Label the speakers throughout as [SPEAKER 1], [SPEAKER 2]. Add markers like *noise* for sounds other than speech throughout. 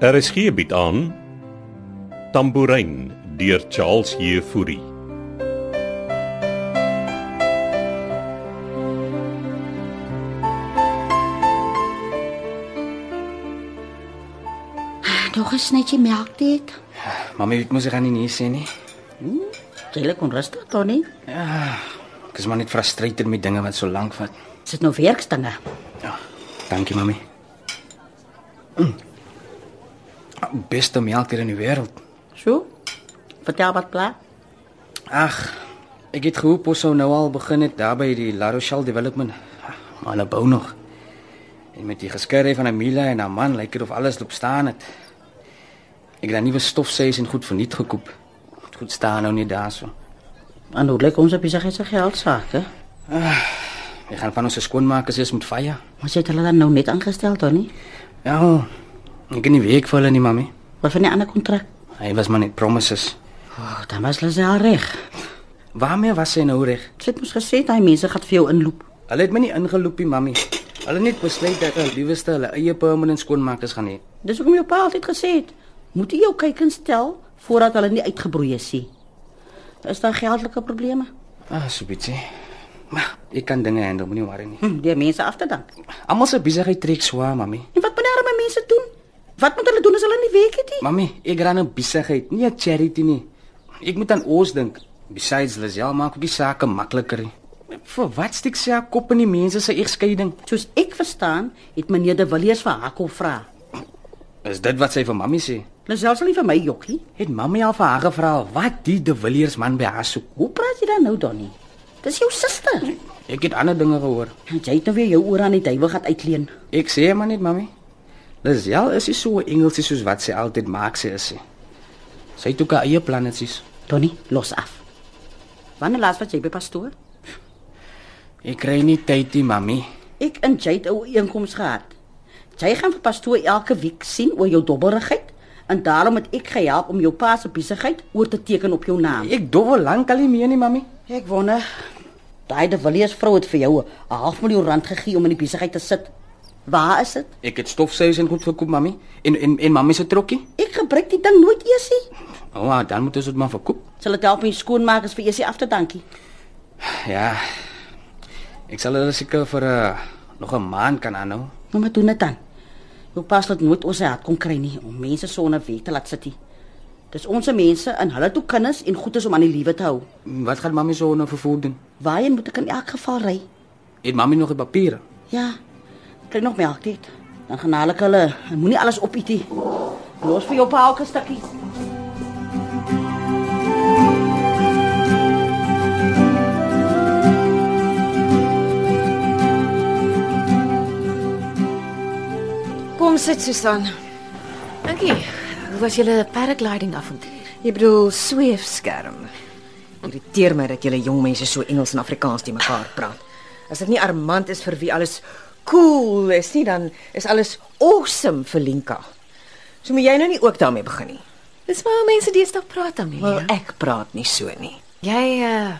[SPEAKER 1] RSG bied Er aan Tambourin deur Charles Heffury.
[SPEAKER 2] Nog 'n snytjie melktee.
[SPEAKER 3] Mamy weet mos ek gaan nie nee sê nie.
[SPEAKER 2] Jy kon rustig toe nie.
[SPEAKER 3] Ek is maar net frustrated met dinge wat so lank vat.
[SPEAKER 2] Sit nou werkstinge.
[SPEAKER 3] Ja. Dankie mamy. Mm. *clears throat* Beste melk hier in die wêreld.
[SPEAKER 2] So. Vertel wat pla.
[SPEAKER 3] Ag, ek het gehoop ons sou nou al begin het daar by die La Rochelle Development. Maar hulle bou nog. En met die geskery van Amila en haar man lyk dit of alles loop staan het. Ek het dan nuwe stofseis en goed verniet gekoop. Goed staan nou nie daarso.
[SPEAKER 2] En hoe lyk nou, ons op besigheid se geld sake?
[SPEAKER 3] Ek gaan van ons skoonmakers is met fire.
[SPEAKER 2] Ons het hulle dan nou net aangestel toe nie.
[SPEAKER 3] Ja, ek kan nie week vir hulle nie, mamy.
[SPEAKER 2] Wat van die ander kontrak?
[SPEAKER 3] Hy was maar net promises.
[SPEAKER 2] Oh, dan was hulle se al reg.
[SPEAKER 3] Waarmee was hy nou reg?
[SPEAKER 2] Sit mos gesê daai mense gaan vir jou inloop.
[SPEAKER 3] Hulle het my nie ingeloop nie, mamy. Hulle het net besluit dat hulle liewerste hulle eie permanent skoonmakers gaan hê.
[SPEAKER 2] Dis hoekom jou pa altyd gesê het, moet jy jou kyk en stel voordat hulle nie uitgebroei is nie. Is daar geldelike probleme?
[SPEAKER 3] Ah, so bietjie. Maar ek kan dinge handle, moenie worry nie.
[SPEAKER 2] Hm, die mense af te dank.
[SPEAKER 3] Almal se besigheid trek swaar, mamy.
[SPEAKER 2] En wat moet die arme mense doen? Wat moet hulle doen as hulle nie werk het nie?
[SPEAKER 3] Mamy, ek ran 'n besigheid, nie 'n charity nie. Ek moet aan ons dink. Besides, Lisel maak ook die sake makliker. Vir wat steek sy haar kop in die mense se egskeiding?
[SPEAKER 2] Soos ek verstaan, het meneer De Villiers vir haar kom vra.
[SPEAKER 3] Is dit wat sy vir mamy sê?
[SPEAKER 2] Hulle selfs al nie vir my jokkie.
[SPEAKER 3] Het mamy al vir haar gevra wat die De Villiers man by haar soek?
[SPEAKER 2] Hoe praat jy dan nou Donnie? Dis jou suster.
[SPEAKER 3] Ek het ander dinge gehoor.
[SPEAKER 2] En Jy het nou weer jou oor aan die duiwel gaan uitleen.
[SPEAKER 3] Ek sê maar net, mami. Lisel is nie so 'n engelsie soos wat sy altyd maak sy is. nie. Sy het ook haar eie plannetjies.
[SPEAKER 2] Donnie, los af. Wanneer laas wat jy by pastoor?
[SPEAKER 3] Ek kry nie tyd nie, mami.
[SPEAKER 2] Ek en Jade ou einkoms gehad. Jy gaan vir pastoor elke week sien oor jou dobberigheid en daarom het ek gehelp om jou pa se besigheid oor te teken op jou naam.
[SPEAKER 3] Ek dowwe lank al nie meer nie, mami.
[SPEAKER 2] Ek wonder daai De Villiers vrou het vir jou 'n half miljoen rand gegee om in die besigheid te sit. Waar is dit?
[SPEAKER 3] Ek het stofsuis en goed verkoop, mami. En en en mami se trokkie?
[SPEAKER 2] Ek gebruik die ding nooit eers nie.
[SPEAKER 3] O, oh, dan moet ons dit maar verkoop.
[SPEAKER 2] Sal dit help om die skoonmakers vir eers af te dankie?
[SPEAKER 3] Ja. Ek sal hulle seker vir 'n nog 'n maand kan aanhou.
[SPEAKER 2] Nou maar doen dit dan. Jou pas laat nooit ons hart kon kry nie om mense sonder wet te laat sit nie. Dis ons mense en hulle toe kinders en goed is om aan die lewe te hou.
[SPEAKER 3] Wat gaan mami so nou vervoer doen?
[SPEAKER 2] Waarheen moet ek in elk geval ry?
[SPEAKER 3] Het mami nog die papiere?
[SPEAKER 2] Ja. Kry nog melk dit. Dan gaan haal ek hulle. En Moenie alles opeet nie. Los vir jou pa ook 'n stukkie.
[SPEAKER 4] Kom sit Susan.
[SPEAKER 5] Dankie. Hoe was julle paragliding avontuur?
[SPEAKER 4] Jy bedoel sweefskerm. Irriteer my dat julle jong mense so Engels en Afrikaans te mekaar praat. As dit nie armand is vir wie alles cool is nie, dan is alles awesome vir Linka. So moet jy nou nie ook daarmee begin nie.
[SPEAKER 5] Dis maar hoe mense deesdae praat, Amelia.
[SPEAKER 4] Wel, ek praat nie so nie.
[SPEAKER 5] Jy uh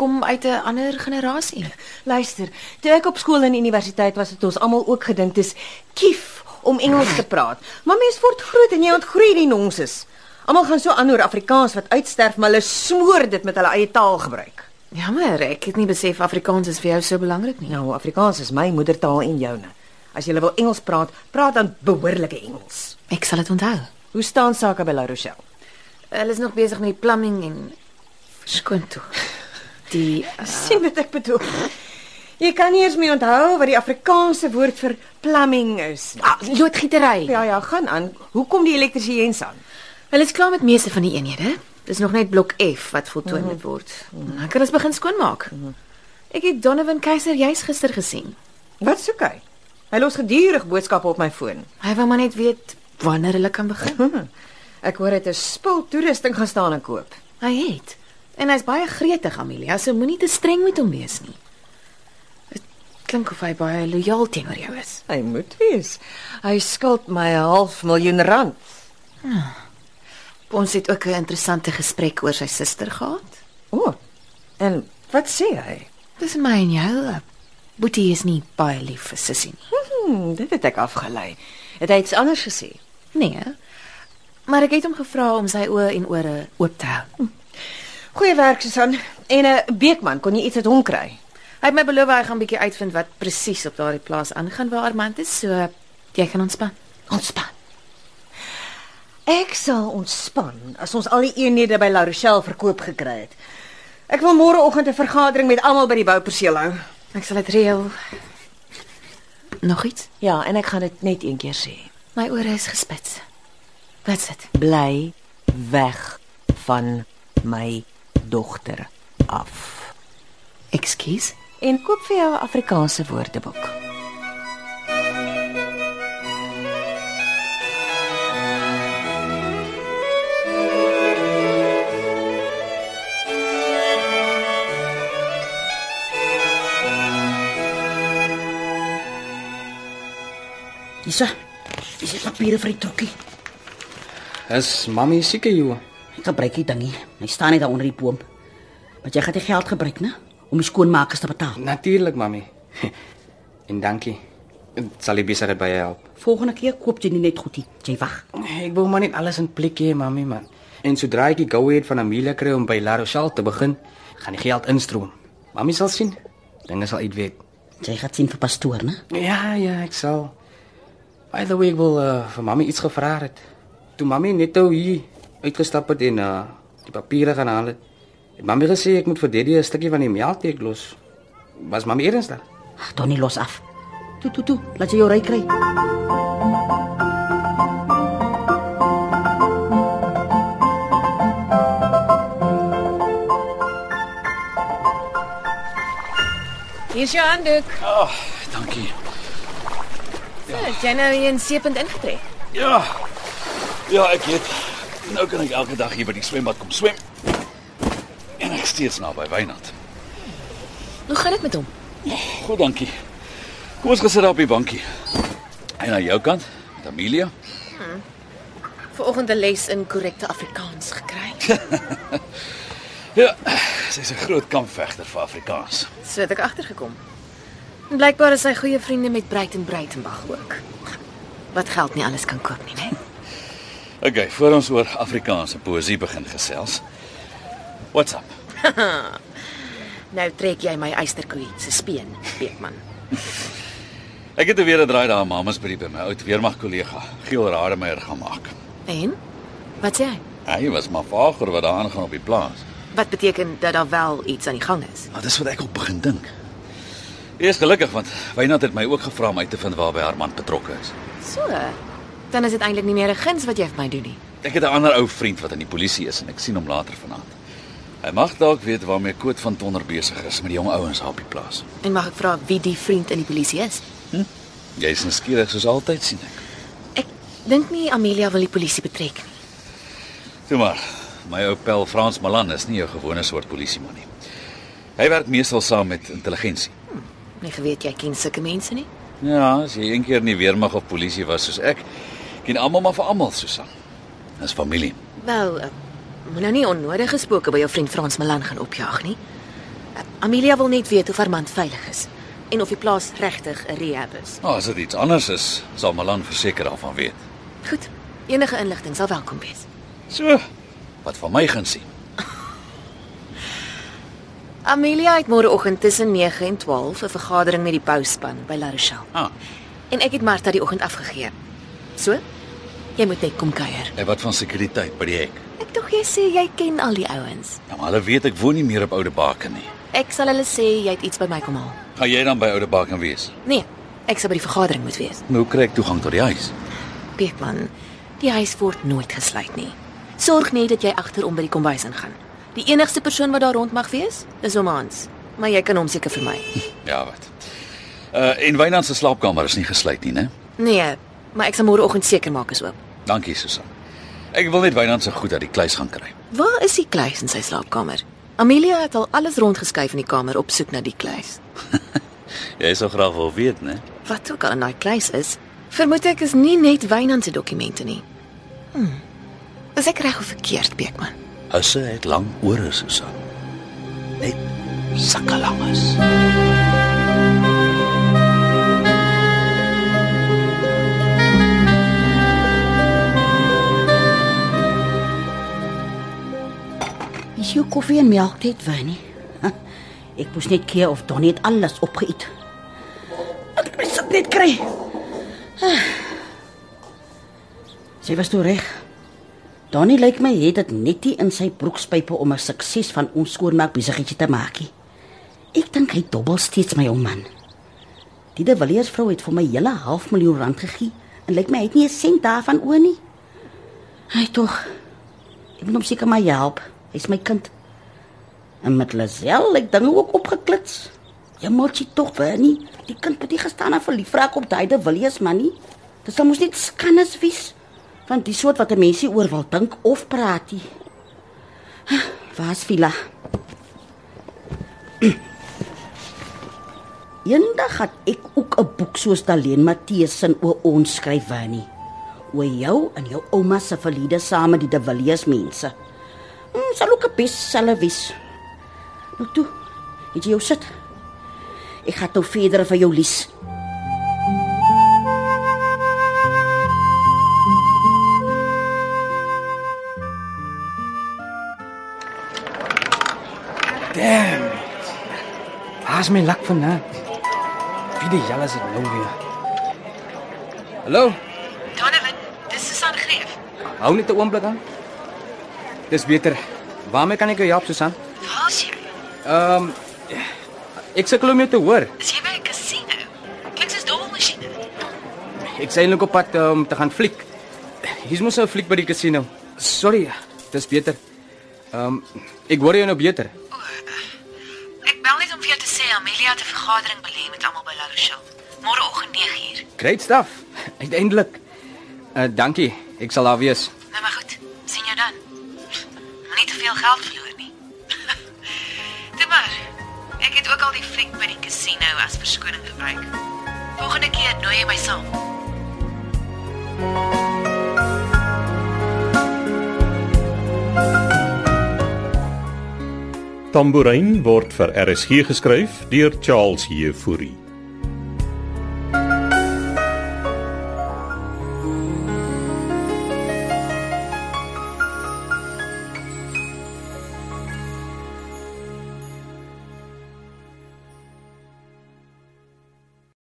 [SPEAKER 5] kom uit 'n ander generasie.
[SPEAKER 4] Luister, toe ek op skool en universiteit was, het ons almal ook gedink dis kief om Engels te praat. Maar mense word groot en jy ontgroei die nonsens. Almal gaan so aan oor Afrikaans wat uitsterf, maar hulle smoor dit met hulle eie taalgebruik.
[SPEAKER 5] Jammer, ek het nie besef Afrikaans is vir jou so belangrik nie.
[SPEAKER 4] Nou, Afrikaans is my moedertaal en joune. As jy wil Engels praat, praat dan behoorlike Engels.
[SPEAKER 5] Ek sal dit onthou.
[SPEAKER 4] Hoe staan sake by La Rochelle?
[SPEAKER 5] Hulle is nog besig met die plumbing en skoon toe. Die uh,
[SPEAKER 4] Ah. sien wat ek bedoel. Jy kan nie eens meer onthou wat die Afrikaanse woord vir plumbing is nie.
[SPEAKER 5] ah, loodgietery.
[SPEAKER 4] Ja ja, gaan aan. Hoe kom die elektriesiëns aan?
[SPEAKER 5] Hulle is klaar met meeste van die eenhede. Dis nog net blok F wat voltooi moet word. Dan kan ons begin skoonmaak. Ek het Donovan Keiser juis gister gesien.
[SPEAKER 4] Wat soek hy? Hy los gedurig boodskappe op my foon. Hm.
[SPEAKER 5] Hy wou maar net weet wanneer hulle kan begin.
[SPEAKER 4] Ek hoor hy het 'n spul toerusting gaan staan en koop.
[SPEAKER 5] Hy het. En hy's baie gretig, Amelia, so moenie te streng met hom wees nie. Dit klink of hy baie lojaal teenoor jou is.
[SPEAKER 4] Hy moet wees. Hy skuld my 'n half miljoen rand.
[SPEAKER 5] Ons het ook 'n interessante gesprek oor sy suster gehad.
[SPEAKER 4] O. Oh, en wat sê hy?
[SPEAKER 5] Tussen my en jou, eh, Boetie is nie baie lief vir Sissie nie.
[SPEAKER 4] Mhm, Hmm, dit het ek afgelei. Het hy iets anders gesê?
[SPEAKER 5] Nee. Maar ek het hom gevra om sy oë en ore oop te hou.
[SPEAKER 4] Goeie werk Susan. En 'n uh, Beekman kon jy iets uit hom kry?
[SPEAKER 5] Hy het my beloof hy gaan bietjie uitvind wat presies op daardie plaas aangaan waar Armand is, so jy kan ontspan.
[SPEAKER 4] Ontspan. Ek sal ontspan as ons al die eenhede by La Rochelle verkoop gekry het. Ek wil môreoggend 'n vergadering met almal by die bouperseel hou.
[SPEAKER 5] Ek sal dit reël. Nog iets?
[SPEAKER 4] Ja, en ek gaan dit net een keer sê.
[SPEAKER 5] My ore is gespits. Wat sit?
[SPEAKER 4] Bly weg van my dogter af.
[SPEAKER 5] Ekskuus.
[SPEAKER 4] En koop vir jou 'n Afrikaanse woordeboek.
[SPEAKER 2] Isa, dis die papiere vir die trokkie.
[SPEAKER 3] Is mami seker jy?
[SPEAKER 2] Ek gebruik die dingie. Hy staan net daar onder die boom. Maar jy gaan die geld gebruik, né, om die skoonmakers te betaal.
[SPEAKER 3] Natuurlik mami. *laughs* en dankie. Dit sal die besigheid by jou help.
[SPEAKER 2] Volgende keer koop jy nie net goedie, jy wag.
[SPEAKER 3] Ek wil maar net alles in plek hê mami man. En sodra ek die go-ahead van Amelia kry om by La Rochelle te begin, gaan die geld instroom. Mami sal sien. Dinge sal uitwerk.
[SPEAKER 2] Jy gaan sien vir pastoor, né?
[SPEAKER 3] Ja, ja, ek sal. By the way, ek wil uh, vir mami iets gevra het. Toe mami net nou hier uitgestap het en uh, die papiere gaan haal het. Het mami gesê ek moet vir Daddy 'n stukkie van die melktee los. Was mami ernstig?
[SPEAKER 2] Ag, Donnie los af. Toe toe toe, laat jy jou ry kry.
[SPEAKER 5] Hier's jou handdoek.
[SPEAKER 3] Ag, dankie.
[SPEAKER 5] Ja. Het jy nou hier 'n seepunt ingetrek?
[SPEAKER 6] Ja. Ja, ek het. Nou kan ek elke dag hier by die swembad kom swem. En ek steeds naby Wynand.
[SPEAKER 5] Hoe gaan dit met hom?
[SPEAKER 6] Goed, dankie. Kom ons gesit daar op die bankie. En aan jou kant, met Amelia.
[SPEAKER 5] Vanoggend 'n les in korrekte Afrikaans gekry. *laughs*
[SPEAKER 6] Ja, sy's 'n groot kampvegter vir Afrikaans.
[SPEAKER 5] So het ek agtergekom. En Blykbaar is hy goeie vriende met Breiten Breitenberg ook. Wat geld nie alles kan koop nie, *laughs* né?
[SPEAKER 6] OK, voor ons oor Afrikaanse poësie begin gesels. What's up?
[SPEAKER 5] Nou trek jy my eysterkoei se speen, Beekman.
[SPEAKER 6] Ek het weer 'n draai daar mamas by die by my oud weermag kollega, Giel Rademeier gaan maak.
[SPEAKER 5] En wat sê hy?
[SPEAKER 6] Hy was maar vager wat daar aangaan op die plaas.
[SPEAKER 5] Wat beteken dat daar wel iets aan die gang is?
[SPEAKER 6] Maar dis wat ek op begin dink. Eers gelukkig want Wynand het my ook gevra om uit te vind waarby haar man betrokke is.
[SPEAKER 5] So, dan is dit eintlik nie meer 'n guns wat jy vir my doen nie.
[SPEAKER 6] Ek het 'n ander ou vriend wat in die polisie is en ek sien hom later vanaand. Hy mag dalk weet waarmee Koot van Tonder besig is met die jong ouens daar op die plaas.
[SPEAKER 5] En mag ek vra wie die vriend in die polisie is?
[SPEAKER 6] Jy's nuuskierig soos altyd sien ek.
[SPEAKER 5] Ek dink nie Amelia wil die polisie betrek nie.
[SPEAKER 6] Toe maar, my ou pel Frans Malan is nie 'n gewone soort polisieman nie. Hy werk meestal saam met intelligensie.
[SPEAKER 5] Nie geweet jy ken sulke mense nie.
[SPEAKER 6] Ja, as jy een keer nie weermag of polisie was soos ek, ken almal maar vir almal, Susan. Dis familie.
[SPEAKER 5] Wel, eh, moet nou nie onnodige spooke by jou vriend Frans Malan gaan opjaag nie. Eh, Amelia wil net weet of Armand veilig is en of die plaas regtig 'n rehab is.
[SPEAKER 6] Nou, as dit iets anders is, sal Malan verseker daarvan weet.
[SPEAKER 5] Goed, enige inligting sal welkom wees.
[SPEAKER 6] So, wat van my gaan sien.
[SPEAKER 5] Amelia het môreoggend tussen 9 en 12 'n vergadering met die bouspan by La Rochelle.
[SPEAKER 6] Ah,
[SPEAKER 5] En ek het Martha die oggend afgegee. So, jy moet net kom kuier.
[SPEAKER 6] en wat van sekuriteit by die hek?
[SPEAKER 5] Ek dink jy sê jy ken al die ouens.
[SPEAKER 6] Ja, maar hulle weet ek woon nie meer op Oude Baken nie.
[SPEAKER 5] Ek sal hulle sê jy het iets by my kom haal.
[SPEAKER 6] Gaan jy dan by Oude Baken wees?
[SPEAKER 5] Nee, ek sal by die vergadering moet wees.
[SPEAKER 6] Nou kry ek toegang tot die huis.
[SPEAKER 5] Beekman, die huis word nooit gesluit nie. Sorg net dat jy agterom by die kombuis ingaan. Die enigste persoon wat daar rond mag wees, is hom Hans, maar jy kan hom seker vermy.
[SPEAKER 6] Ja, wat. Uh en Wynand se slaapkamer is nie gesluit nie, né?
[SPEAKER 5] Nee, maar ek sal môreoggend seker maak is oop.
[SPEAKER 6] Dankie, Susan. Ek wil net Wynand se goed uit die kluis gaan kry.
[SPEAKER 5] Waar is die kluis in sy slaapkamer? Amelia het al alles rondgeskuif in die kamer op soek na die kluis.
[SPEAKER 6] Jy sou graag wil weet, né?
[SPEAKER 5] Wat ook al in daai kluis is, vermoed ek is nie net Wynand se dokumente nie. Hm. Is ek reg of verkeerd, Beekman?
[SPEAKER 6] Husse het lang ore, Susan. Net sakkalanges.
[SPEAKER 2] koffie en melk het wyn nie. *laughs* Huh, Ek moes net keer of Donnie het alles opgeëet. Ek moet dit net kry. *sighs* Ah. Sy was toe reg. Donnie lyk my het dit net nie in sy broekspype om 'n sukses van ons skoonmaak besigheidjie te maak nie. Ek dink hy dobbel steeds my om man. Die De Villiers vrou het vir my hele half miljoen rand gegee en lyk my hy het nie 'n sent daarvan oor nie. Hy tog. Ek moet hom seker maar help. Hy's my kind. En met Lazel, ek dinge ook opgeklits. Jy moet jy tog weer nie. Die kind moet nie gestaan en verlief raak op daai De Villiers man nie. Dis dan mos net skannes wies van die soort wat 'n mensie oor wil dink of praat nie. Waar's Vila? Eendag gaan ek ook 'n boek soos Daleen Matthee se oor ons skryf Wannie. Oor jou en jou ouma se verlede saam met die De Villiers mense. Ons sal ook 'n bestseller wees. Nou toe, het jy jou sit. Ek gaan nou verder van jou lees.
[SPEAKER 3] Damn. Waar's my lak vandaan? Wie die jal is dit nou weer? Hallo,
[SPEAKER 5] Donovan, dis Susan Greef.
[SPEAKER 3] hou net 'n oomblik aan. Dis beter. Waarmee kan ek jou help, Susan?
[SPEAKER 5] Waar's jy?
[SPEAKER 3] Ehm um, ek sukkel om jou te hoor.
[SPEAKER 5] Is jy by 'n casino? Klink soos dobbelmasjiene.
[SPEAKER 3] Ek sê net op pad eh, om te gaan fliek. Hier's mos nou 'n fliek by die casino. Sorry, dis beter. Ehm um, ek hoor jou nou beter.
[SPEAKER 5] Ek bel net om vir jou te sê Amelia het 'n vergadering belê met almal by La Rochelle. Môreoggend 9uur.
[SPEAKER 3] Great stuff. Uiteindelik. Uh, dankie. Ek sal daar wees.
[SPEAKER 5] Nou maar goed. Sien jou dan. Moenie te veel geld verloor nie. *laughs* Toe maar. Ek het ook al die fliek by die casino as verskoning gebruik. Volgende keer nooi jy my saam.
[SPEAKER 1] Tambourin word vir RSG geskryf deur Charles Heffury.